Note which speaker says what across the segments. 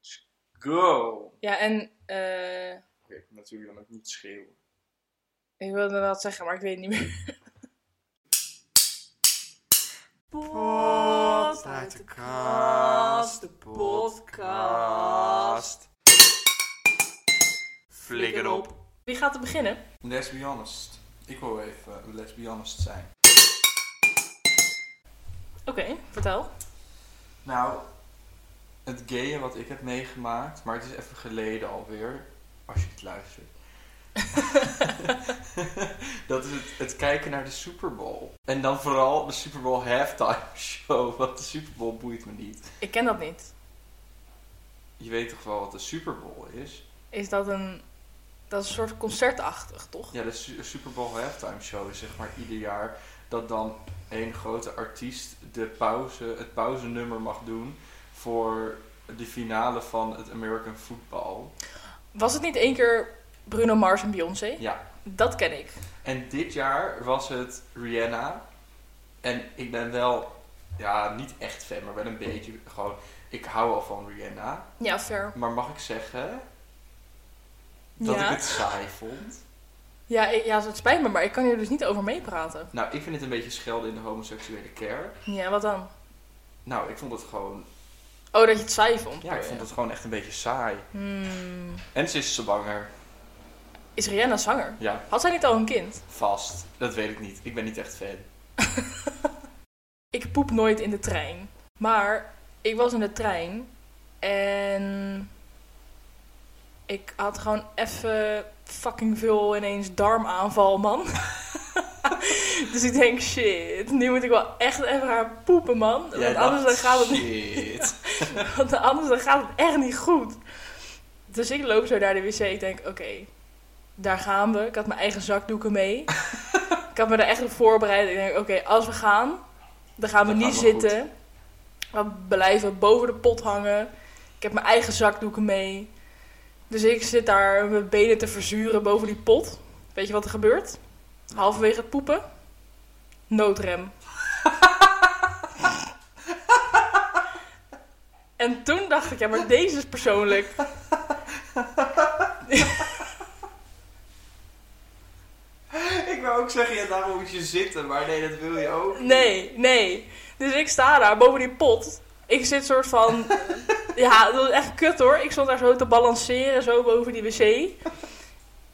Speaker 1: Dus Go! Oké,
Speaker 2: Ja, en eh,
Speaker 1: ik moet natuurlijk dan ook niet schreeuwen.
Speaker 2: ik wilde wat zeggen, maar ik weet het niet meer.
Speaker 3: Pot uit de kast, de podcast. Flikker op.
Speaker 2: Wie gaat er beginnen?
Speaker 1: Let's be honest. Ik wil even eh, let's be honest zijn.
Speaker 2: Oké, vertel.
Speaker 1: Nou, het gayen wat ik heb meegemaakt, maar het is even geleden alweer, als je het luistert. dat is het, het kijken naar de Super Bowl. En dan vooral de Super Bowl halftime show, want de Super Bowl boeit me niet.
Speaker 2: Ik ken dat niet.
Speaker 1: Je weet toch wel wat de Super Bowl is?
Speaker 2: Is dat een... Dat is een soort concertachtig, toch?
Speaker 1: Ja, de Su- Super Bowl halftime show is zeg maar ieder jaar dat dan één grote artiest de pauze, het pauzenummer mag doen voor de finale van het American Football.
Speaker 2: Was het niet één keer Bruno Mars en Beyoncé?
Speaker 1: Ja.
Speaker 2: Dat ken ik.
Speaker 1: En dit jaar was het Rihanna. En ik ben wel, ja, niet echt fan, maar wel een beetje gewoon. Ik hou wel van Rihanna.
Speaker 2: Ja, fair.
Speaker 1: Maar mag ik zeggen dat
Speaker 2: ja.
Speaker 1: ik het saai vond?
Speaker 2: Ja, ik- ja, het spijt me, maar ik kan hier dus niet over meepraten.
Speaker 1: Nou, ik vind het een beetje schelden in de homoseksuele kerk.
Speaker 2: Ja, wat dan?
Speaker 1: Nou, ik vond het gewoon,
Speaker 2: Oh, dat je het saai vond.
Speaker 1: ja, ik vond het gewoon echt een beetje saai.
Speaker 2: Hmm.
Speaker 1: En ze is zwanger.
Speaker 2: Is Rihanna zwanger?
Speaker 1: Ja,
Speaker 2: Had zij niet al een kind?
Speaker 1: vast. Dat weet ik niet. Ik ben niet echt fan.
Speaker 2: Ik poep nooit in de trein. Maar ik was in de trein en ik had gewoon even fucking veel ineens darmaanval, man. dus ik denk, shit, nu moet ik wel echt even gaan poepen, man. Want
Speaker 1: Jij
Speaker 2: anders dan
Speaker 1: dacht,
Speaker 2: gaat het niet.
Speaker 1: Shit.
Speaker 2: Want anders dan gaat het echt niet goed. Dus ik loop zo naar de wc. Ik denk, oké, daar gaan we. Ik had mijn eigen zakdoeken mee. ik had me daar echt op voorbereid. Ik denk, oké, als we gaan, dan gaan we
Speaker 1: Dan
Speaker 2: niet
Speaker 1: gaan we goed.
Speaker 2: zitten. We blijven boven de pot hangen. Ik heb mijn eigen zakdoeken mee. Dus ik zit daar mijn benen te verzuren boven die pot. Weet je wat er gebeurt? Halverwege het poepen. Noodrem. En toen dacht ik, ja, maar deze is persoonlijk.
Speaker 1: Ik wou ook zeggen, ja, daarom moet je zitten. Maar nee, dat wil je ook niet.
Speaker 2: Nee, nee. Dus ik sta daar boven die pot. Ik zit soort van. ja, dat was echt kut hoor. Ik stond daar zo te balanceren, zo boven die wc.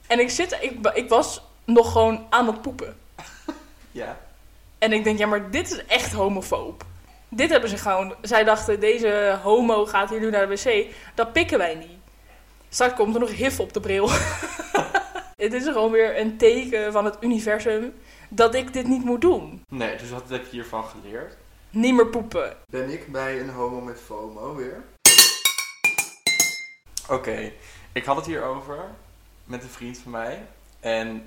Speaker 2: En ik zit, ik, ik was nog gewoon aan het poepen.
Speaker 1: Ja.
Speaker 2: En ik denk, ja, maar dit is echt homofoob. Dit hebben ze gewoon. Zij dachten, deze homo gaat hier nu naar de wc. Dat pikken wij niet. Straks komt er nog HIV op de bril. het is gewoon weer een teken van het universum dat ik dit niet moet doen.
Speaker 1: Nee, dus wat heb je hiervan geleerd?
Speaker 2: Niet meer poepen.
Speaker 1: Ben ik bij een homo met FOMO weer? Oké, ik had het hierover met een vriend van mij. En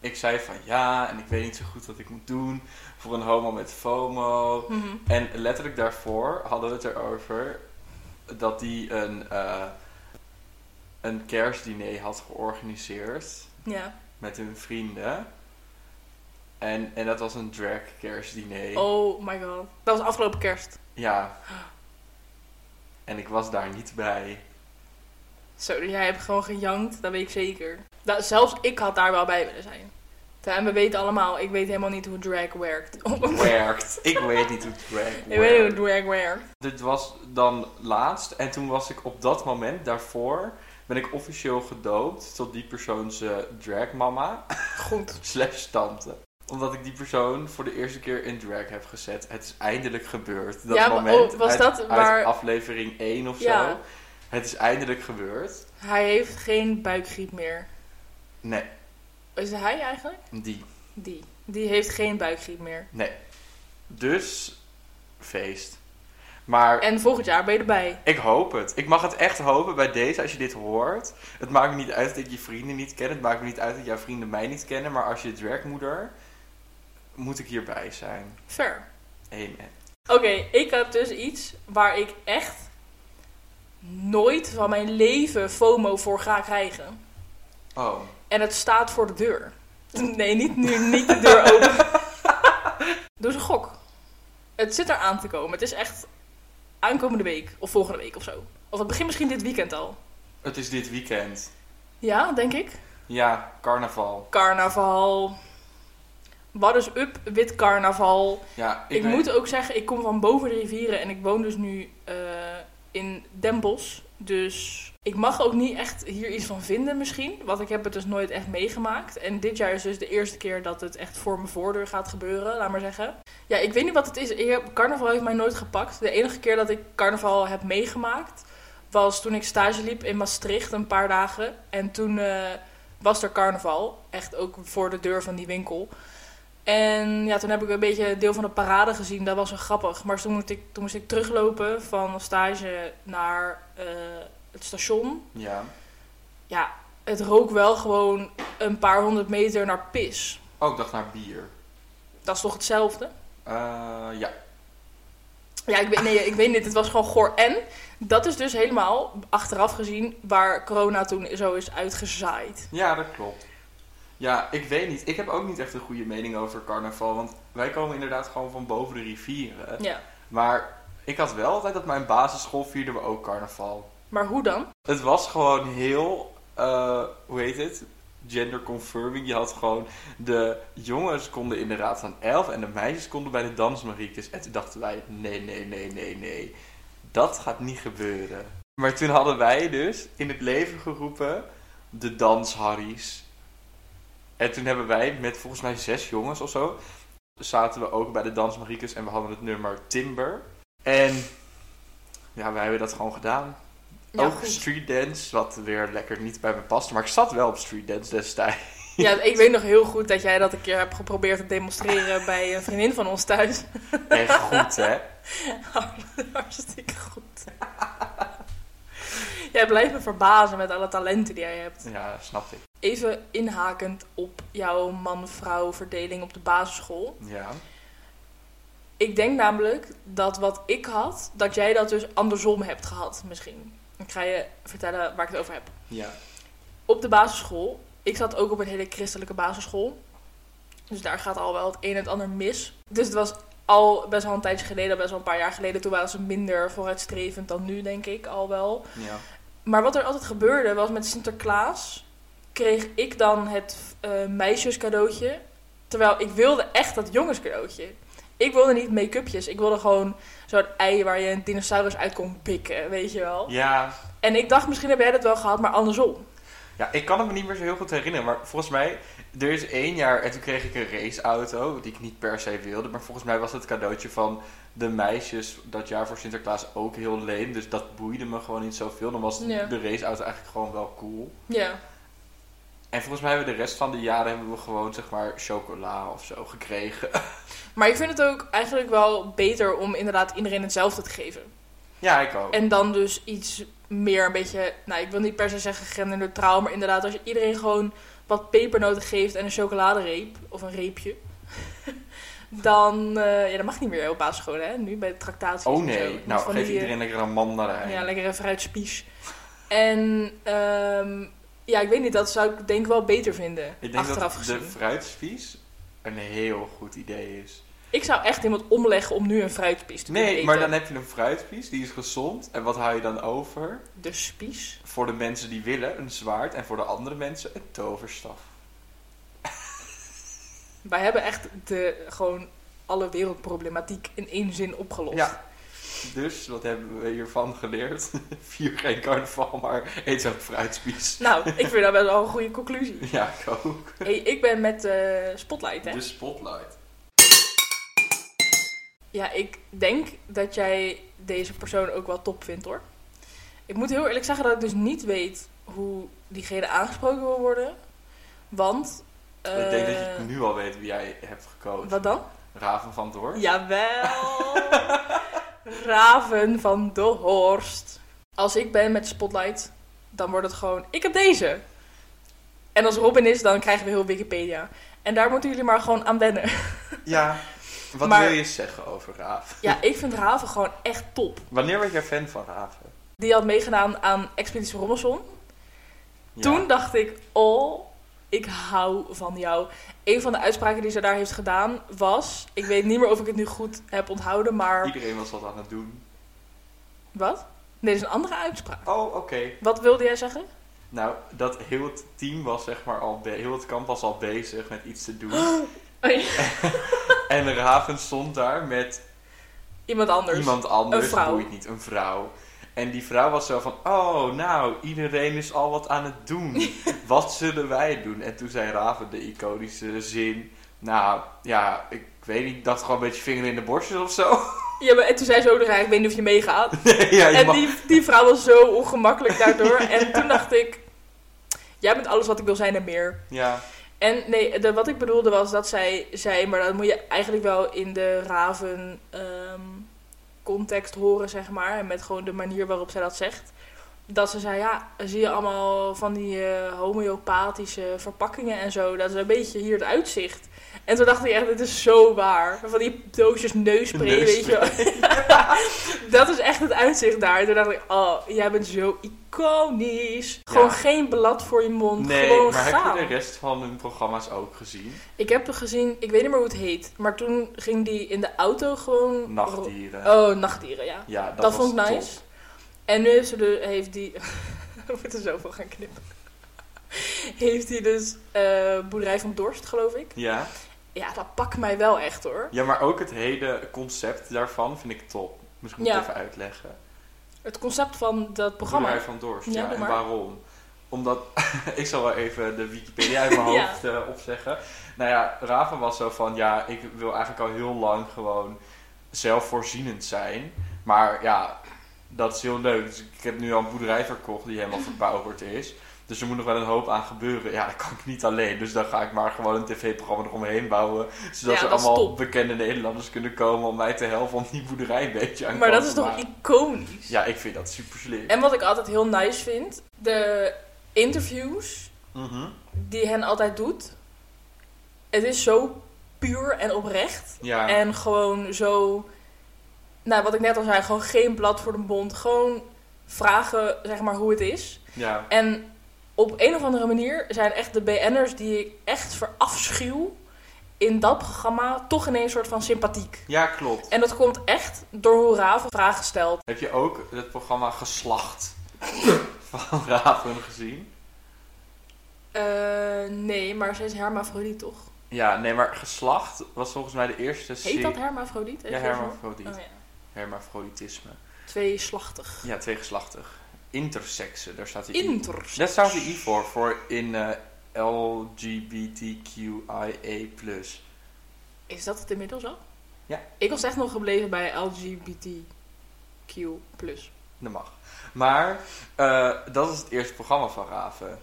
Speaker 1: ik zei van ja, en ik weet niet zo goed wat ik moet doen voor een homo met FOMO.
Speaker 2: Mhm.
Speaker 1: En letterlijk daarvoor hadden we het erover dat hij een, eh, een kerstdiner had georganiseerd
Speaker 2: Ja.
Speaker 1: met hun vrienden. En, en dat was een drag kerstdiner.
Speaker 2: Oh my god. Dat was afgelopen kerst.
Speaker 1: Ja. En ik was daar niet bij.
Speaker 2: Zo, dus jij hebt gewoon gejankt, dat weet ik zeker. Dat, zelfs ik had daar wel bij willen zijn. Ja, En we weten allemaal, ik weet helemaal niet hoe drag werkt.
Speaker 1: Werkt. Ik weet niet hoe het werkt.
Speaker 2: ik weet niet hoe drag werkt.
Speaker 1: Dit was dan laatst. En toen was ik op dat moment daarvoor... ben ik officieel gedoopt tot die persoons eh, dragmama
Speaker 2: Goed.
Speaker 1: slash tante. Omdat ik die persoon voor de eerste keer in drag heb gezet. Het is eindelijk gebeurd. Dat
Speaker 2: Ja, maar-
Speaker 1: moment
Speaker 2: oh, was
Speaker 1: uit,
Speaker 2: dat
Speaker 1: uit
Speaker 2: waar-
Speaker 1: aflevering 1 of
Speaker 2: Ja.
Speaker 1: zo. Het is eindelijk gebeurd.
Speaker 2: Hij heeft geen buikgriep meer.
Speaker 1: Nee,
Speaker 2: Is het hij eigenlijk?
Speaker 1: die.
Speaker 2: Die. Die heeft geen buikgriep meer.
Speaker 1: Dus, feest. Maar
Speaker 2: En volgend jaar ben je erbij.
Speaker 1: Ik hoop het. Ik mag het echt hopen bij deze als je dit hoort. Het maakt me niet uit dat ik je vrienden niet ken. Het maakt me niet uit dat jouw vrienden mij niet kennen. Maar als je dragmoeder, moet ik hierbij zijn.
Speaker 2: Ver.
Speaker 1: Amen.
Speaker 2: Oké, ik heb dus iets waar ik echt nooit van mijn leven FOMO voor ga krijgen.
Speaker 1: Oh.
Speaker 2: En het staat voor de deur. Nee, niet nu, niet de deur open. Doe eens een gok. Het zit eraan te komen. Het is echt aankomende week of volgende week of zo. Of het begint misschien dit weekend al.
Speaker 1: Het is dit weekend.
Speaker 2: Ja, denk ik.
Speaker 1: Ja, carnaval.
Speaker 2: Carnaval. What is up, wit carnaval.
Speaker 1: Ja,
Speaker 2: Ik,
Speaker 1: weet-
Speaker 2: moet ook zeggen, ik kom van boven de rivieren en ik woon dus nu eh, in Den Bosch. Dus ik mag ook niet echt hier iets van vinden misschien. Want ik heb het dus nooit echt meegemaakt. En dit jaar is dus de eerste keer dat het echt voor mijn voordeur gaat gebeuren, laat maar zeggen. Ja, ik weet niet wat het is. Ik heb- Carnaval heeft mij nooit gepakt. De enige keer dat ik carnaval heb meegemaakt was toen ik stage liep in Maastricht een paar dagen. En toen eh, was er carnaval. Echt ook voor de deur van die winkel. En ja, toen heb ik een beetje een deel van de parade gezien. Dat was wel grappig. Maar toen moest ik, toen moest ik teruglopen van stage naar eh, het station.
Speaker 1: Ja.
Speaker 2: Ja, het rook wel gewoon een paar honderd meter naar pis.
Speaker 1: Oh, ik dacht naar bier.
Speaker 2: Dat is toch hetzelfde?
Speaker 1: Eh, ja.
Speaker 2: Ja, ik weet, nee, ik weet niet. Het was gewoon goor. En dat is dus helemaal achteraf gezien waar corona toen zo is uitgezaaid.
Speaker 1: ja, dat klopt. Ja, ik weet niet. Ik heb ook niet echt een goede mening over carnaval. Want wij komen inderdaad gewoon van boven de rivieren.
Speaker 2: Ja.
Speaker 1: Maar ik had wel altijd op mijn basisschool vierden we ook carnaval.
Speaker 2: Maar hoe dan?
Speaker 1: Het was gewoon heel, eh, hoe heet het? Genderconfirming. Je had gewoon de jongens konden in de raad van 11 en de meisjes konden bij de dansmariekes. En toen dachten wij: nee, nee, nee, nee, nee. Dat gaat niet gebeuren. Maar toen hadden wij dus in het leven geroepen de dansharries. En toen hebben wij met volgens mij zes jongens of zo. zaten we ook bij de dansmariekes en we hadden het nummer Timber. En ja, wij hebben dat gewoon gedaan
Speaker 2: Ja,
Speaker 1: ook
Speaker 2: goed.
Speaker 1: street dance, wat weer lekker niet bij me past. Maar ik zat wel op street dance destijds.
Speaker 2: ja, ik weet nog heel goed dat jij dat een keer hebt geprobeerd te demonstreren bij een vriendin van ons thuis.
Speaker 1: Echt goed, hè?
Speaker 2: Hartstikke goed. Jij blijft me verbazen met alle talenten die jij hebt.
Speaker 1: Ja, snap ik.
Speaker 2: Even inhakend op jouw man-vrouw verdeling op de basisschool.
Speaker 1: Ja.
Speaker 2: Ik denk namelijk dat wat ik had, dat jij dat dus andersom hebt gehad misschien. Ik ga je vertellen waar ik het over heb.
Speaker 1: Ja.
Speaker 2: Op de basisschool, ik zat ook op een hele christelijke basisschool. Dus daar gaat al wel het een en het ander mis. Dus het was al best wel een tijdje geleden, best wel een paar jaar geleden. Toen waren ze minder vooruitstrevend dan nu, denk ik, al wel.
Speaker 1: Ja.
Speaker 2: Maar wat er altijd gebeurde was met Sinterklaas kreeg ik dan het eh, meisjescadeautje. Terwijl ik wilde echt dat jongenscadeautje. Ik wilde niet make-upjes. Ik wilde gewoon zo'n ei waar je een dinosaurus uit kon pikken, weet je wel.
Speaker 1: Ja.
Speaker 2: En ik dacht, misschien heb jij dat wel gehad, maar andersom.
Speaker 1: Ja, ik kan het me niet meer zo heel goed herinneren. Maar volgens mij, er is één jaar en toen kreeg ik een raceauto. Die ik niet per se wilde. Maar volgens mij was het cadeautje van de meisjes dat jaar voor Sinterklaas ook heel leem. Dus dat boeide me gewoon niet zoveel. Dan was
Speaker 2: Ja.
Speaker 1: de raceauto eigenlijk gewoon wel cool.
Speaker 2: Ja.
Speaker 1: En volgens mij hebben we de rest van de jaren hebben we gewoon zeg maar chocola of zo gekregen.
Speaker 2: Maar ik vind het ook eigenlijk wel beter om inderdaad iedereen hetzelfde te geven.
Speaker 1: Ja, ik ook.
Speaker 2: En dan dus iets meer een beetje, nou ik wil niet per se zeggen genderneutraal, maar inderdaad als je iedereen gewoon wat pepernoten geeft en een chocoladereep, of een reepje, dan, eh, ja dat mag niet meer op basisschool hè, nu bij de tractatie.
Speaker 1: Oh nee, nou geef iedereen lekker een mandarijn.
Speaker 2: eh, Ja, lekker even fruit spies. En ehm, ja, ik weet niet, dat zou ik denk ik wel beter vinden,
Speaker 1: ik denk
Speaker 2: achteraf
Speaker 1: dat
Speaker 2: gezien.
Speaker 1: de fruitspies een heel goed idee is.
Speaker 2: Ik zou echt iemand omleggen om nu een fruitspies te kunnen
Speaker 1: Nee,
Speaker 2: eten.
Speaker 1: maar dan heb je een fruitspies, die is gezond. En wat hou je dan over?
Speaker 2: De spies.
Speaker 1: Voor de mensen die willen, een zwaard. En voor de andere mensen, een toverstaf.
Speaker 2: Wij hebben echt de, gewoon alle wereldproblematiek in één zin opgelost.
Speaker 1: Ja. Dus, wat hebben we hiervan geleerd? Vier geen carnaval, maar eet zo'n fruitspies.
Speaker 2: Nou, ik vind dat best wel een goede conclusie.
Speaker 1: Ja, ik ook.
Speaker 2: Hey, ik ben met eh, Spotlight, hè?
Speaker 1: De spotlight.
Speaker 2: Ja, ik denk dat jij deze persoon ook wel top vindt, hoor. Ik moet heel eerlijk zeggen dat ik dus niet weet hoe diegene aangesproken wil worden. Want...
Speaker 1: ik denk dat
Speaker 2: eh,
Speaker 1: je nu al weet wie jij hebt gekozen.
Speaker 2: Wat dan?
Speaker 1: Raven van Doorn.
Speaker 2: Jawel! Raven van de Horst. Als ik ben met Spotlight, dan wordt het gewoon... Ik heb deze! En als Robin is, dan krijgen we heel Wikipedia. En daar moeten jullie maar gewoon aan wennen.
Speaker 1: Ja. Wat
Speaker 2: Maar-
Speaker 1: wil je zeggen over Raven?
Speaker 2: Ja, ik vind Raven gewoon echt top.
Speaker 1: Wanneer werd jij fan van Raven?
Speaker 2: Die had meegedaan aan Expeditie Robinson.
Speaker 1: Ja.
Speaker 2: Toen dacht ik, oh, ik hou van jou. Een van de uitspraken die ze daar heeft gedaan was... Ik weet niet meer of ik het nu goed heb onthouden, maar...
Speaker 1: Iedereen was wat aan het doen.
Speaker 2: Wat? Nee, dat is een andere uitspraak.
Speaker 1: Oh, oké.
Speaker 2: Wat wilde jij zeggen?
Speaker 1: Nou, dat heel het team was zeg maar al... be- heel het kamp was al bezig met iets te doen.
Speaker 2: Oh, ja.
Speaker 1: en Raven stond daar met
Speaker 2: Iemand anders.
Speaker 1: iemand anders.
Speaker 2: Een vrouw.
Speaker 1: Boeit niet, een vrouw. En die vrouw was zo van... Oh, nou, iedereen is al wat aan het doen. wat zullen wij doen? En toen zei Raven de iconische zin... Nou, ja, ik weet niet. Ik dacht gewoon een beetje vinger in de borstjes of zo.
Speaker 2: Ja, maar en toen zei ze ook nog, ik weet niet of je meegaat.
Speaker 1: ja, je
Speaker 2: en
Speaker 1: mag-
Speaker 2: die, die vrouw was zo ongemakkelijk daardoor. En toen dacht ik, jij bent alles wat ik wil zijn en meer.
Speaker 1: ja.
Speaker 2: En nee, de, wat ik bedoelde was dat zij zei, maar dat moet je eigenlijk wel in de raven ehm, context horen, zeg maar. En met gewoon de manier waarop zij dat zegt. Dat ze zei, ja, zie je allemaal van die eh, homeopathische verpakkingen en zo. Dat is een beetje hier het uitzicht. En toen dacht ik echt, dit is zo waar. Van die doosjes neuspray, weet je wel. dat is echt het uitzicht daar. En toen dacht ik, oh, jij bent zo iconisch. Gewoon
Speaker 1: Ja.
Speaker 2: geen blad voor je mond.
Speaker 1: Nee,
Speaker 2: gewoon
Speaker 1: maar
Speaker 2: gaan.
Speaker 1: heb je de rest van hun programma's ook gezien?
Speaker 2: Ik heb er gezien, ik weet niet meer hoe het heet, maar toen ging die in de auto gewoon.
Speaker 1: Nachtdieren.
Speaker 2: Oh, nachtdieren, ja.
Speaker 1: Ja, dat,
Speaker 2: Dat,
Speaker 1: was
Speaker 2: vond ik
Speaker 1: top.
Speaker 2: nice. En nu heeft ze de, heeft die. we moeten zoveel gaan knippen. heeft hij dus eh, Boerderij van Dorst, geloof ik.
Speaker 1: Ja.
Speaker 2: Ja, dat pakt mij wel echt hoor.
Speaker 1: ja, maar ook het hele concept daarvan vind ik top. Misschien moet ik
Speaker 2: Ja.
Speaker 1: even uitleggen.
Speaker 2: Het concept van dat
Speaker 1: Boerderij
Speaker 2: programma.
Speaker 1: van Dorst,
Speaker 2: Ja,
Speaker 1: ja.
Speaker 2: doe
Speaker 1: En
Speaker 2: maar.
Speaker 1: waarom? Omdat, ik zal wel even de Wikipedia uit mijn
Speaker 2: Ja.
Speaker 1: hoofd eh, opzeggen. Nou ja, Raven was zo van, ja, ik wil eigenlijk al heel lang gewoon zelfvoorzienend zijn. Maar ja, dat is heel leuk. Dus ik heb nu al een boerderij verkocht die helemaal verbouwd is. Dus er moet nog wel een hoop aan gebeuren. Ja, dat kan ik niet alleen. Dus dan ga ik maar gewoon een tv-programma eromheen bouwen. Zodat
Speaker 2: Ja,
Speaker 1: er
Speaker 2: dat is
Speaker 1: allemaal
Speaker 2: top.
Speaker 1: bekende Nederlanders kunnen komen om mij te helpen om die boerderij een beetje aan
Speaker 2: maar dat
Speaker 1: kant
Speaker 2: is
Speaker 1: te
Speaker 2: toch
Speaker 1: maken.
Speaker 2: iconisch?
Speaker 1: Ja, ik vind dat super slim.
Speaker 2: En wat ik altijd heel nice vind, de interviews
Speaker 1: Mhm.
Speaker 2: die hen altijd doet. Het is zo puur en oprecht.
Speaker 1: Ja.
Speaker 2: En gewoon zo, nou wat ik net al zei, gewoon geen blad voor de mond. Gewoon vragen, zeg maar, hoe het is.
Speaker 1: Ja,
Speaker 2: En op een of andere manier zijn echt de BN'ers die ik echt verafschuw in dat programma toch ineens een soort van sympathiek.
Speaker 1: ja klopt.
Speaker 2: En dat komt echt door hoe Raven vragen stelt.
Speaker 1: Heb je ook het programma Geslacht van Raven gezien?
Speaker 2: Eh, nee, maar ze is hermafrodiet toch?
Speaker 1: Ja, nee, maar Geslacht was volgens mij de eerste
Speaker 2: Heet
Speaker 1: serie...
Speaker 2: dat hermafrodiet?
Speaker 1: Ja,
Speaker 2: Even
Speaker 1: hermafrodiet.
Speaker 2: zo. Oh, ja.
Speaker 1: Hermafroditisme.
Speaker 2: Tweeslachtig.
Speaker 1: Ja, tegenslachtig. Intersexen, daar staat de I.
Speaker 2: Inter.
Speaker 1: Daar staat de I voor, voor in eh LGBTQIA+.
Speaker 2: Is dat het inmiddels al?
Speaker 1: Ja.
Speaker 2: Ik was echt nog gebleven bij LGBTQ+.
Speaker 1: Dat mag. Maar eh, dat is het eerste programma van Raven.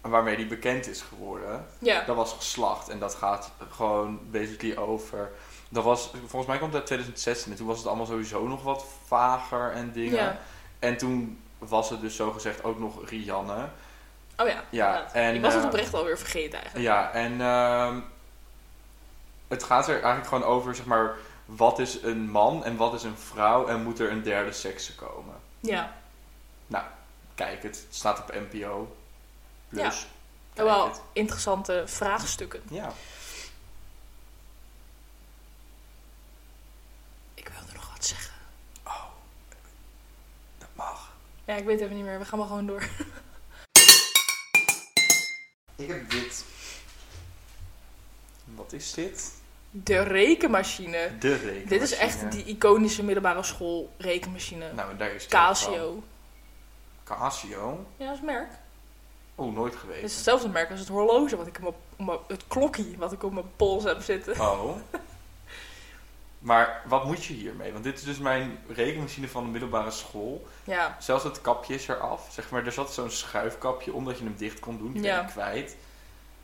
Speaker 1: Waarmee die bekend is geworden.
Speaker 2: Ja.
Speaker 1: Dat was geslacht en dat gaat gewoon basically over. Dat was, volgens mij komt dat uit 2016 en toen was het allemaal sowieso nog wat vager en dingen.
Speaker 2: Ja.
Speaker 1: En toen was het dus zogezegd ook nog Rianne.
Speaker 2: Oh ja.
Speaker 1: Ja,
Speaker 2: inderdaad.
Speaker 1: en,
Speaker 2: ik was het
Speaker 1: eh,
Speaker 2: oprecht alweer vergeten eigenlijk.
Speaker 1: Ja, en ehm, het gaat er eigenlijk gewoon over, zeg maar, wat is een man en wat is een vrouw en moet er een derde sekse komen?
Speaker 2: Ja.
Speaker 1: Kijk, het staat op NPO.
Speaker 2: Ja.
Speaker 1: Plus.
Speaker 2: En
Speaker 1: Kijk
Speaker 2: wel
Speaker 1: het.
Speaker 2: interessante vraagstukken.
Speaker 1: Ja.
Speaker 2: Ik wilde nog wat zeggen.
Speaker 1: Oh, Dat mag.
Speaker 2: Ja, ik weet even niet meer. We gaan maar gewoon door.
Speaker 1: Ik heb dit. Wat is dit?
Speaker 2: De rekenmachine.
Speaker 1: De rekenmachine.
Speaker 2: Dit is echt die iconische middelbare school rekenmachine.
Speaker 1: Nou, daar is het ook
Speaker 2: Casio.
Speaker 1: van. Casio?
Speaker 2: Ja, dat is een merk.
Speaker 1: Oeh, nooit
Speaker 2: Het
Speaker 1: geweest.
Speaker 2: is hetzelfde merk als het horloge wat ik op mijn, op mijn- het klokkie wat ik op mijn pols heb zitten.
Speaker 1: Oh. Maar wat moet je hiermee? Want dit is dus mijn rekenmachine van de middelbare school.
Speaker 2: Ja.
Speaker 1: Zelfs het kapje is eraf. Zeg maar, er zat zo'n schuifkapje om dat je hem dicht kon doen. Die
Speaker 2: Ja.
Speaker 1: ben ik kwijt.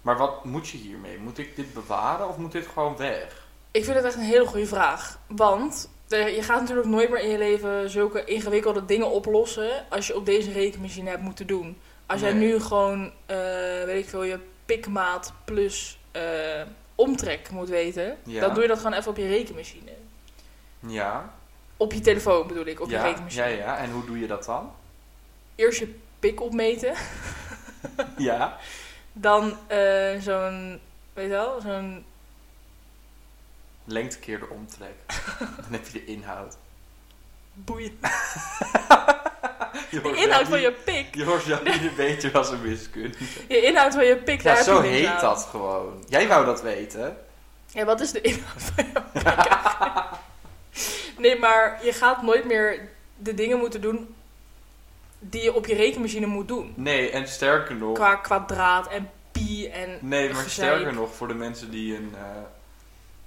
Speaker 1: Maar wat moet je hiermee? Moet ik dit bewaren of moet dit gewoon weg?
Speaker 2: Ik vind het echt een hele goede vraag. Want er- je gaat natuurlijk nooit meer in je leven zulke ingewikkelde dingen oplossen als je op deze rekenmachine hebt moeten doen. Als jij
Speaker 1: Nee.
Speaker 2: nu gewoon, eh, weet ik veel, je pikmaat plus eh, omtrek moet weten,
Speaker 1: Ja.
Speaker 2: dan doe je dat gewoon even op je rekenmachine.
Speaker 1: Ja.
Speaker 2: Op je telefoon bedoel ik, op je
Speaker 1: ja,
Speaker 2: rekenmachine.
Speaker 1: ja, ja. En hoe doe je dat dan?
Speaker 2: Eerst je pik opmeten,
Speaker 1: ja.
Speaker 2: dan eh, zo'n, weet je wel, zo'n,
Speaker 1: Lengte keer de omtrek. dan heb je de inhoud.
Speaker 2: boeien.
Speaker 1: je
Speaker 2: De
Speaker 1: hoort Janine-
Speaker 2: inhoud van je pik.
Speaker 1: Je wordt Janine beter als een wiskunde.
Speaker 2: Je inhoud van je pik, daar
Speaker 1: Ja,
Speaker 2: heb
Speaker 1: zo
Speaker 2: je niks
Speaker 1: heet
Speaker 2: aan.
Speaker 1: dat gewoon. Jij wou dat weten.
Speaker 2: Ja, wat is de inhoud van jouw pik? eigenlijk? nee, maar je gaat nooit meer de dingen moeten doen die je op je rekenmachine moet doen.
Speaker 1: Nee, en sterker nog...
Speaker 2: Qua kwadraat en pi en...
Speaker 1: Nee, maar
Speaker 2: Gezeik.
Speaker 1: sterker nog, voor de mensen die een eh,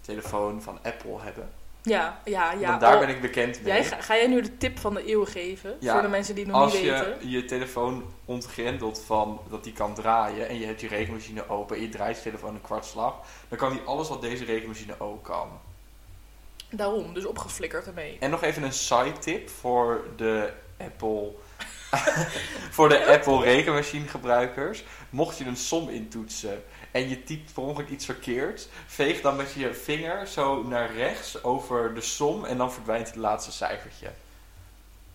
Speaker 1: telefoon van Apple hebben.
Speaker 2: Ja, ja, ja.
Speaker 1: want daar
Speaker 2: al-
Speaker 1: ben ik bekend mee.
Speaker 2: jij, ga, ga jij nu de tip van de eeuw geven?
Speaker 1: Ja,
Speaker 2: voor de mensen die het nog
Speaker 1: Als
Speaker 2: niet
Speaker 1: je
Speaker 2: weten.
Speaker 1: je telefoon ontgrendelt van dat die kan draaien en je hebt je rekenmachine open en je draait je telefoon een kwartslag, dan kan die alles wat deze rekenmachine ook kan.
Speaker 2: Daarom, dus opgeflikkerd ermee.
Speaker 1: En nog even een side tip voor de Apple. voor de Apple rekenmachine gebruikers. Mocht je een som intoetsen en je typt per ongeluk iets verkeerd, veeg dan met je vinger zo naar rechts over de som en dan verdwijnt het laatste cijfertje.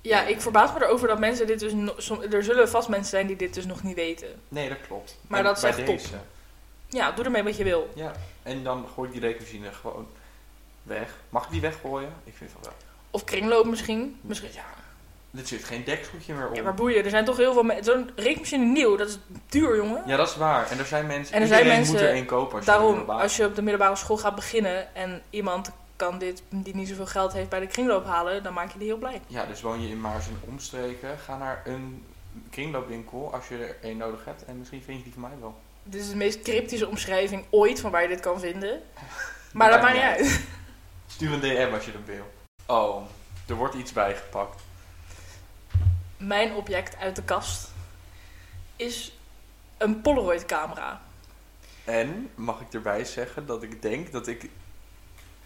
Speaker 2: Ja, ik verbaas me erover dat mensen dit dus... no- som- er zullen vast mensen zijn die dit dus nog niet weten.
Speaker 1: Nee, dat klopt.
Speaker 2: Maar
Speaker 1: En
Speaker 2: dat is
Speaker 1: bij
Speaker 2: echt top. Ja, doe ermee wat je wil.
Speaker 1: Ja, en dan gooi ik die rekenmachine gewoon weg. Mag ik die weggooien? Ik vind van wel.
Speaker 2: Of kringloop misschien. misschien
Speaker 1: Ja, er zit geen dekseltje meer op.
Speaker 2: ja,
Speaker 1: Ja,
Speaker 2: maar boeien, er zijn toch heel veel mensen... Zo'n rekenmachine nieuw, dat is duur, jongen.
Speaker 1: dat is waar. En er zijn mensen,
Speaker 2: En er zijn
Speaker 1: iedereen moet
Speaker 2: mensen-
Speaker 1: er één kopen als je er
Speaker 2: Daarom,
Speaker 1: wil bouwen.
Speaker 2: als je op de middelbare school gaat beginnen... en iemand kan dit, die niet zoveel geld heeft, bij de kringloop halen... dan maak je die heel blij.
Speaker 1: Ja, dus woon je in Maars en omstreken, ga naar een kringloopwinkel als je er één nodig hebt. En misschien vind je die van mij wel.
Speaker 2: Dit is de meest cryptische omschrijving ooit van waar je dit kan vinden. Maar dat maakt niet uit.
Speaker 1: Stuur een DM als je dat wil. Oh, er wordt iets bijgepakt.
Speaker 2: Mijn object uit de kast is een Polaroid camera.
Speaker 1: En mag ik erbij zeggen dat ik denk dat ik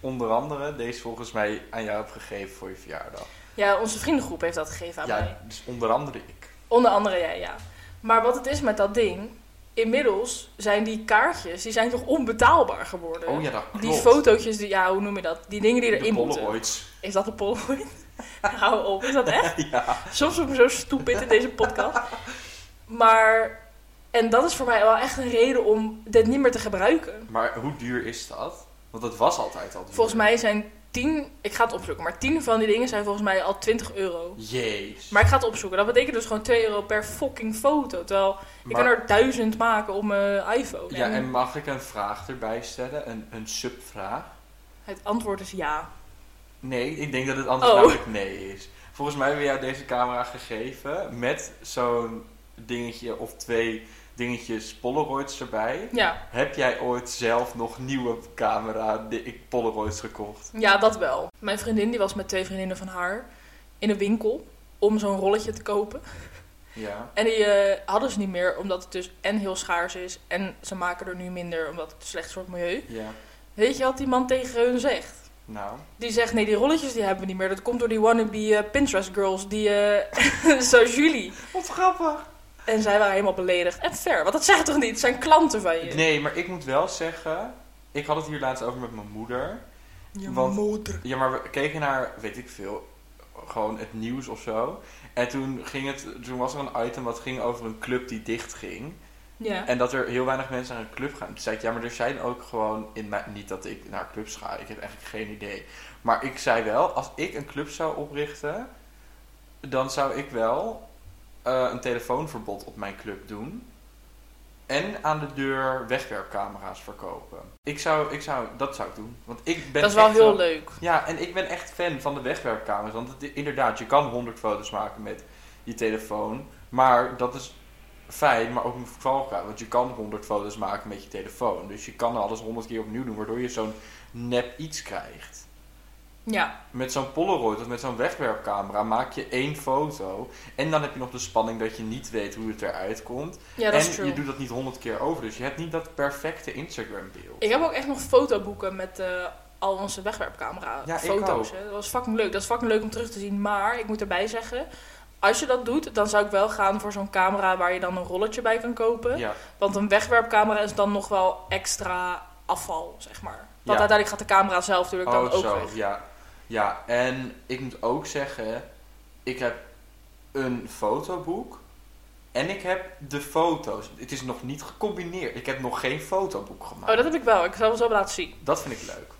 Speaker 1: onder andere deze volgens mij aan jou heb gegeven voor je verjaardag.
Speaker 2: Ja, onze vriendengroep heeft dat gegeven aan mij.
Speaker 1: ja, dus onder andere ik.
Speaker 2: Onder andere jij, ja. Maar wat het is met dat ding... Inmiddels zijn die kaartjes, die zijn toch onbetaalbaar geworden?
Speaker 1: Oh ja, dat klopt.
Speaker 2: Eh, Die fotootjes, die, ja, hoe noem je dat? Die dingen die
Speaker 1: De
Speaker 2: erin eh. moeten.
Speaker 1: Polaroids.
Speaker 2: Is dat een Polaroid? Hou op, is dat echt?
Speaker 1: ja.
Speaker 2: Soms word ik zo stupid in deze podcast. Maar, en dat is voor mij wel echt een reden om dit niet meer te gebruiken.
Speaker 1: Maar hoe duur is dat? Want dat was altijd al duur.
Speaker 2: Volgens mij zijn tien, ik ga het opzoeken, maar tien van die dingen zijn volgens mij al 20 euro.
Speaker 1: Jeez.
Speaker 2: Maar ik ga het opzoeken. Dat betekent dus gewoon 2 euro per fucking foto. Terwijl ik
Speaker 1: Maar-
Speaker 2: kan er duizend maken op mijn iPhone.
Speaker 1: Ja, en mag ik een vraag erbij stellen? Een, een subvraag?
Speaker 2: Het antwoord is ja.
Speaker 1: Nee, ik denk dat het antwoord
Speaker 2: Oh.
Speaker 1: namelijk nee is. Volgens mij hebben we jou deze camera gegeven met zo'n dingetje of twee dingetjes Polaroids erbij.
Speaker 2: Ja,
Speaker 1: Heb jij ooit zelf nog nieuwe camera di- Polaroids gekocht?
Speaker 2: ja dat wel. Mijn vriendin die was met twee vriendinnen van haar in een winkel om zo'n rolletje te kopen.
Speaker 1: Ja.
Speaker 2: En die eh, hadden ze niet meer omdat het dus en heel schaars is en ze maken er nu minder omdat het slecht is voor het milieu.
Speaker 1: Ja.
Speaker 2: Weet je wat die man tegen hun zegt?
Speaker 1: Nou.
Speaker 2: Die zegt, nee, die rolletjes die hebben we niet meer. Dat komt door die wannabe eh, Pinterest girls, die, eh zo Julie.
Speaker 1: Wat grappig.
Speaker 2: En zij waren helemaal beledigd. En fair, want dat zegt toch niet? Het zijn klanten van je.
Speaker 1: Nee, maar ik moet wel zeggen, ik had het hier laatst over met mijn moeder.
Speaker 2: Je
Speaker 1: want-
Speaker 2: moeder.
Speaker 1: Ja, maar we keken naar, weet ik veel, gewoon het nieuws of zo. En toen, ging het, toen was er een item wat ging over een club die dicht ging.
Speaker 2: Ja.
Speaker 1: En dat er heel weinig mensen naar een club gaan. Toen zei ik, ja, maar er zijn ook gewoon... In mijn, niet dat ik naar clubs ga, ik heb eigenlijk geen idee. Maar ik zei wel, als ik een club zou oprichten... dan zou ik wel eh, een telefoonverbod op mijn club doen. En aan de deur wegwerpcamera's verkopen. Ik zou, ik zou, dat zou ik doen. Want ik ben
Speaker 2: dat is wel
Speaker 1: echt
Speaker 2: heel
Speaker 1: zo-
Speaker 2: leuk.
Speaker 1: Ja, en ik ben echt fan van de wegwerpcamera's. Want het, inderdaad, je kan 100 foto's maken met je telefoon. Maar dat is fijn, maar ook een valkuil. Want je kan 100 foto's maken met je telefoon. Dus je kan alles 100 keer opnieuw doen, waardoor je zo'n nep iets krijgt.
Speaker 2: Ja.
Speaker 1: Met zo'n Polaroid of met zo'n wegwerpcamera maak je één foto. En dan heb je nog de spanning dat je niet weet hoe het eruit komt.
Speaker 2: Ja, dat
Speaker 1: en
Speaker 2: is true.
Speaker 1: je doet dat niet 100 keer over. Dus je hebt niet dat perfecte Instagram-beeld.
Speaker 2: Ik heb ook echt nog fotoboeken met eh, al onze wegwerpcamera
Speaker 1: Ja, ik
Speaker 2: foto's.
Speaker 1: ook.
Speaker 2: hè. Dat was fucking leuk. Dat is fucking leuk om terug te zien. Maar ik moet erbij zeggen, als je dat doet, dan zou ik wel gaan voor zo'n camera waar je dan een rolletje bij kan kopen.
Speaker 1: Ja,
Speaker 2: Want een wegwerpcamera is dan nog wel extra afval, zeg maar.
Speaker 1: Ja.
Speaker 2: Want uiteindelijk gaat de camera zelf natuurlijk dan ook weg.
Speaker 1: Oh, ja. Ja, en ik moet ook zeggen, ik heb een fotoboek en ik heb de foto's. Het is nog niet gecombineerd. Ik heb nog geen fotoboek gemaakt.
Speaker 2: Oh, dat heb ik wel. Ik zal het zo laten zien.
Speaker 1: Dat vind ik leuk.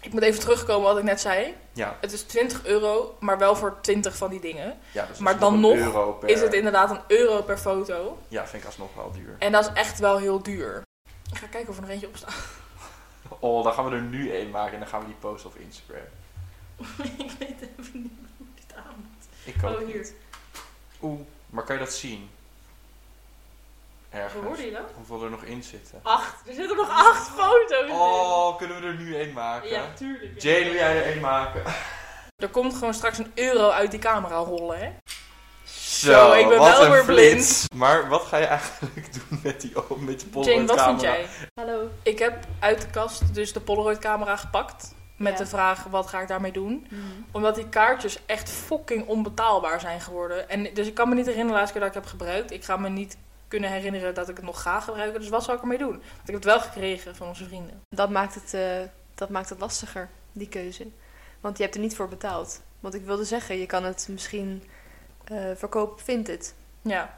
Speaker 2: Ik moet even terugkomen wat ik net zei.
Speaker 1: Ja.
Speaker 2: Het is 20 euro, maar wel voor 20 van die dingen.
Speaker 1: ja dus
Speaker 2: Maar
Speaker 1: is
Speaker 2: dan
Speaker 1: een
Speaker 2: nog
Speaker 1: euro per-
Speaker 2: Is het inderdaad een euro per foto.
Speaker 1: Ja, vind ik alsnog wel duur.
Speaker 2: En dat is echt wel heel duur. Ik ga kijken of er nog eentje op staat.
Speaker 1: Oh, dan gaan we er nu één maken en dan gaan we die posten op Instagram.
Speaker 2: ik weet even niet hoe dit aan
Speaker 1: Ik ook.
Speaker 2: Oh, hier.
Speaker 1: Oeh, maar kan je dat zien? Ergens.
Speaker 2: Hoorde je dat?
Speaker 1: Hoeveel er nog in zitten.
Speaker 2: Acht. Er zitten nog acht foto's in.
Speaker 1: Oh, kunnen we er nu één maken?
Speaker 2: Ja, tuurlijk.
Speaker 1: Jane, wil jij er één maken?
Speaker 2: Er komt gewoon straks een euro uit die camera rollen, hè?
Speaker 1: Zo,
Speaker 2: ik ben
Speaker 1: wat
Speaker 2: wel
Speaker 1: een
Speaker 2: weer
Speaker 1: flits. Maar wat ga je eigenlijk doen met die oh, met je Polaroid
Speaker 2: Jane, wat
Speaker 1: camera?
Speaker 2: vind jij?
Speaker 4: Hallo.
Speaker 2: Ik heb uit de kast dus de Polaroid camera gepakt. Met
Speaker 4: Ja.
Speaker 2: de vraag, wat ga ik daarmee doen? Omdat die kaartjes echt fucking onbetaalbaar zijn geworden. En dus ik kan me niet herinneren de laatste keer dat ik heb gebruikt. Ik ga me niet kunnen herinneren dat ik het nog ga gebruiken. Dus wat zou ik ermee doen? Want ik heb het wel gekregen van onze vrienden.
Speaker 4: Dat, maakt het, eh, dat maakt het lastiger, die keuze. Want je hebt er niet voor betaald. Want ik wilde zeggen, je kan het misschien eh, verkopen op Vinted.
Speaker 2: Ja,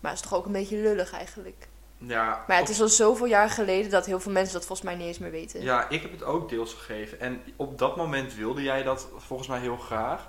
Speaker 4: Maar het is toch ook een beetje lullig eigenlijk.
Speaker 1: Ja,
Speaker 4: Maar ja, het is al zoveel jaar geleden dat heel veel mensen dat volgens mij niet eens meer weten.
Speaker 1: Ja, ik heb het ook deels gegeven. En op dat moment wilde jij dat volgens mij heel graag.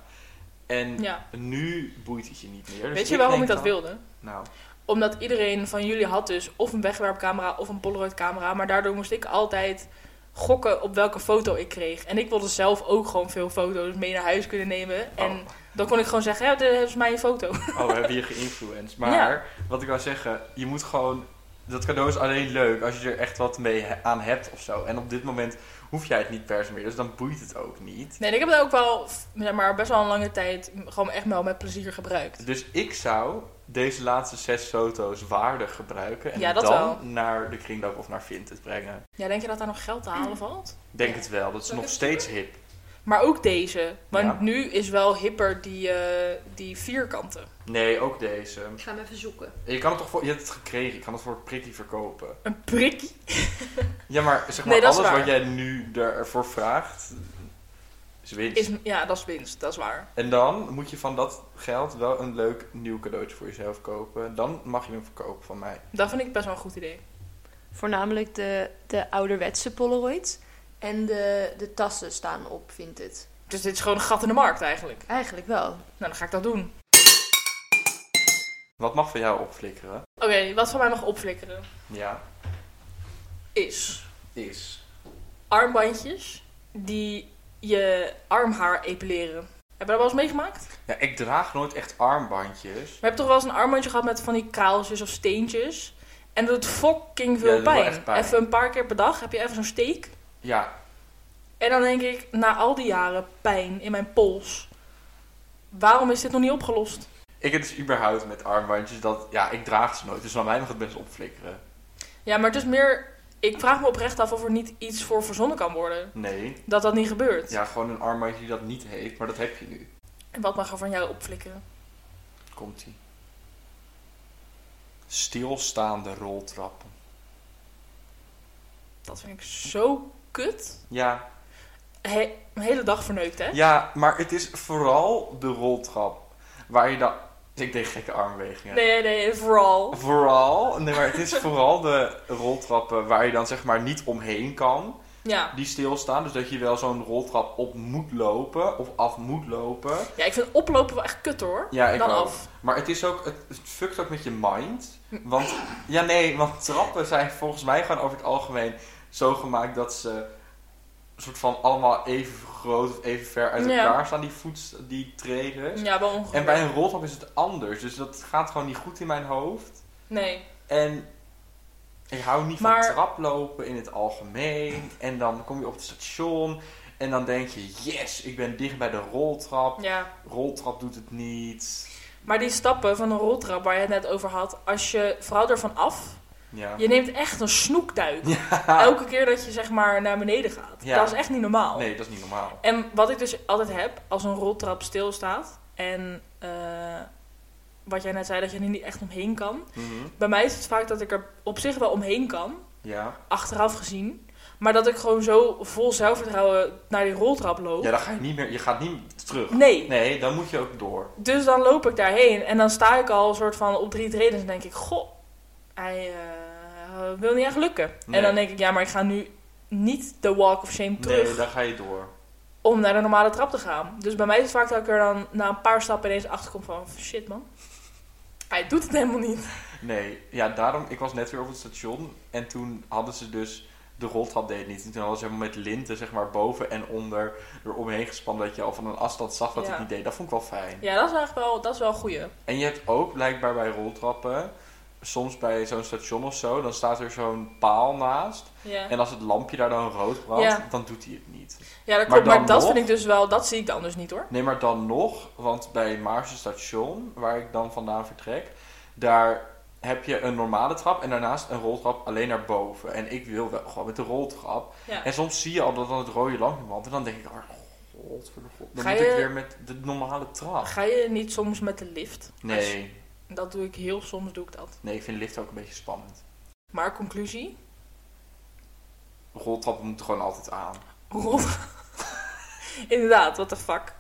Speaker 1: En
Speaker 2: ja.
Speaker 1: nu boeit het je niet meer. Dus
Speaker 2: Weet je
Speaker 1: ik
Speaker 2: waarom ik
Speaker 1: denk
Speaker 2: dat
Speaker 1: dan-
Speaker 2: wilde?
Speaker 1: Nou,
Speaker 2: Omdat iedereen van jullie had dus of een wegwerpcamera of een Polaroid camera. Maar daardoor moest ik altijd gokken op welke foto ik kreeg. En ik wilde zelf ook gewoon veel foto's mee naar huis kunnen nemen. En dan kon ik gewoon zeggen, ja, dit is mijn foto.
Speaker 1: oh, we hebben je geïnfluenced. Maar
Speaker 2: Ja.
Speaker 1: wat ik wou zeggen, je moet gewoon... Dat cadeau is alleen leuk als je er echt wat mee he- aan hebt of zo. En op dit moment hoef jij het niet per se meer. Dus dan boeit het ook niet.
Speaker 2: Nee, en ik heb het ook wel, zeg maar, best wel een lange tijd gewoon echt wel met plezier gebruikt.
Speaker 1: Dus ik zou deze laatste zes foto's waardig gebruiken. En
Speaker 2: Ja, dat
Speaker 1: dan
Speaker 2: wel.
Speaker 1: naar de kringloop of naar Vinted brengen.
Speaker 2: Ja, denk je dat daar nog geld te halen valt?
Speaker 1: Denk
Speaker 4: Ja.
Speaker 1: het wel. Dat is
Speaker 4: Zal ik
Speaker 1: nog
Speaker 4: het
Speaker 1: steeds hip.
Speaker 2: Maar ook deze. Want
Speaker 1: Ja.
Speaker 2: nu is wel hipper die, eh, die vierkanten.
Speaker 1: Nee, ook deze.
Speaker 4: Ik ga hem even zoeken.
Speaker 1: Je kan het toch voor, je hebt het gekregen, je kan het voor een prikkie verkopen.
Speaker 2: Een prikkie.
Speaker 1: Ja, maar zeg maar,
Speaker 2: Nee, dat is
Speaker 1: alles
Speaker 2: waar.
Speaker 1: wat jij nu ervoor vraagt, is winst.
Speaker 2: Is, ja, dat is winst, dat is waar.
Speaker 1: En dan moet je van dat geld wel een leuk nieuw cadeautje voor jezelf kopen. Dan mag je hem verkopen van mij.
Speaker 2: Dat vind ik best wel een goed idee.
Speaker 4: Voornamelijk de, de ouderwetse Polaroids. En de, de tassen staan op Vinted.
Speaker 2: Dus dit is gewoon een gat in de markt eigenlijk.
Speaker 4: Eigenlijk wel.
Speaker 2: Nou, dan ga ik dat doen.
Speaker 1: Wat mag van jou opflikkeren?
Speaker 2: Oké, wat van mij mag opflikkeren
Speaker 1: Ja,
Speaker 2: is
Speaker 1: is.
Speaker 2: armbandjes die je armhaar epileren. Heb je dat wel eens meegemaakt?
Speaker 1: Ja, ik draag nooit echt armbandjes.
Speaker 2: We hebben toch wel eens een armbandje gehad met van die kraaltjes of steentjes. En dat doet fucking veel
Speaker 1: Ja, dat doet wel
Speaker 2: pijn.
Speaker 1: echt pijn.
Speaker 2: Even een paar keer per dag heb je even zo'n steek.
Speaker 1: Ja,
Speaker 2: En dan denk ik, na al die jaren pijn in mijn pols, waarom is dit nog niet opgelost?
Speaker 1: ik heb dus überhaupt met armbandjes dat, ja, ik draag ze nooit. Dus van mij mag het best opflikkeren.
Speaker 2: Ja, maar het is meer, ik vraag me oprecht af of er niet iets voor verzonnen kan worden.
Speaker 1: Nee.
Speaker 2: Dat dat niet gebeurt.
Speaker 1: Ja, gewoon een armbandje die dat niet heeft, maar dat heb je nu.
Speaker 2: En wat mag er van jou opflikkeren?
Speaker 1: Komt ie. Stilstaande roltrappen.
Speaker 2: Dat vind ik zo kut.
Speaker 1: Ja.
Speaker 2: He- een hele dag verneukt, hè?
Speaker 1: ja, maar het is vooral de roltrap waar je dan... Dus Ik deed gekke armwegingen.
Speaker 2: Nee, nee, vooral.
Speaker 1: Vooral, nee, maar het is vooral de roltrappen waar je dan zeg maar niet omheen kan,
Speaker 2: Ja.
Speaker 1: die stilstaan. Dus dat je wel zo'n roltrap op moet lopen of af moet lopen.
Speaker 2: ja, ik vind oplopen wel echt kut hoor.
Speaker 1: Ja, ik
Speaker 2: Dan
Speaker 1: ook.
Speaker 2: af.
Speaker 1: Maar het is ook, het, het fuckt ook met je mind.
Speaker 2: Hm.
Speaker 1: Want, ja nee, want trappen zijn volgens mij gewoon over het algemeen zo gemaakt dat ze soort van allemaal even groot of even ver uit
Speaker 2: Ja.
Speaker 1: elkaar staan, die voet, die treden.
Speaker 2: Ja, wel ongeveer.
Speaker 1: En bij een roltrap is het anders, dus dat gaat gewoon niet goed in mijn hoofd.
Speaker 2: Nee.
Speaker 1: En ik hou niet
Speaker 2: Maar-
Speaker 1: van traplopen in het algemeen. En dan kom je op het station en dan denk je, yes, ik ben dicht bij de roltrap.
Speaker 2: Ja.
Speaker 1: Roltrap doet het niet.
Speaker 2: Maar die stappen van een roltrap waar je het net over had, als je vooral ervan af,
Speaker 1: Ja.
Speaker 2: je neemt echt een snoekduik.
Speaker 1: Ja.
Speaker 2: Elke keer dat je zeg maar naar beneden gaat.
Speaker 1: Ja.
Speaker 2: Dat is echt niet normaal.
Speaker 1: Nee, dat is niet normaal.
Speaker 2: En wat ik dus altijd heb, als een roltrap stilstaat en eh, wat jij net zei, dat je er niet echt omheen kan.
Speaker 1: Mhm.
Speaker 2: Bij mij is het vaak dat ik er op zich wel omheen kan,
Speaker 1: Ja.
Speaker 2: achteraf gezien. Maar dat ik gewoon zo vol zelfvertrouwen naar die roltrap loop.
Speaker 1: ja, dan ga je niet meer, je gaat niet terug.
Speaker 2: Oh. Nee.
Speaker 1: Nee, dan moet je ook door.
Speaker 2: Dus dan loop ik daarheen en dan sta ik al soort van op drie treden en denk ik, goh, hij eh, wil niet echt lukken.
Speaker 1: Nee.
Speaker 2: En dan denk ik, ja, maar ik ga nu niet de walk of shame terug
Speaker 1: Nee, daar ga je door.
Speaker 2: om naar de normale trap te gaan. Dus bij mij is het vaak dat ik er dan na een paar stappen ineens achter kom van shit man. Hij doet het helemaal niet.
Speaker 1: Nee, ja, daarom, ik was net weer op het station en toen hadden ze dus, de roltrap deed het niet. En toen hadden ze helemaal met linten, zeg maar, boven en onder eromheen gespannen, dat je al van een afstand zag dat
Speaker 2: Ja.
Speaker 1: het niet deed. Dat vond ik wel fijn.
Speaker 2: Ja, dat is eigenlijk wel, dat is wel een goeie.
Speaker 1: En je hebt ook blijkbaar bij roltrappen, soms bij zo'n station of zo, dan staat er zo'n paal naast.
Speaker 2: Ja,
Speaker 1: En als het lampje daar dan rood brandt,
Speaker 2: Ja.
Speaker 1: dan doet hij het niet.
Speaker 2: ja
Speaker 1: Maar
Speaker 2: dat klopt. Maar,
Speaker 1: dan
Speaker 2: dat
Speaker 1: nog-
Speaker 2: vind ik dus wel, dat zie ik dan dus niet hoor.
Speaker 1: Nee, maar dan nog, want bij Maarse station, waar ik dan vandaan vertrek, daar heb je een normale trap en daarnaast een roltrap alleen naar boven. En ik wil wel gewoon met de roltrap.
Speaker 2: Ja.
Speaker 1: En soms zie je al dat dan het rode lampje brandt en dan denk ik, oh, god, voor de god. Dan
Speaker 2: Ga
Speaker 1: moet
Speaker 2: je-
Speaker 1: ik weer met de normale trap.
Speaker 2: Ga je niet soms met de lift?
Speaker 1: Nee,
Speaker 2: Dat doe ik heel soms, doe ik dat.
Speaker 1: nee, ik vind lift ook een beetje spannend.
Speaker 2: Maar conclusie?
Speaker 1: Roltrappen moeten gewoon altijd aan.
Speaker 2: Rob. Inderdaad, what the fuck.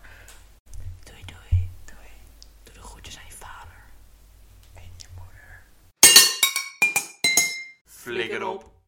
Speaker 2: Doei, doei, doei. Doe de groetjes aan je vader.
Speaker 3: Flikker op.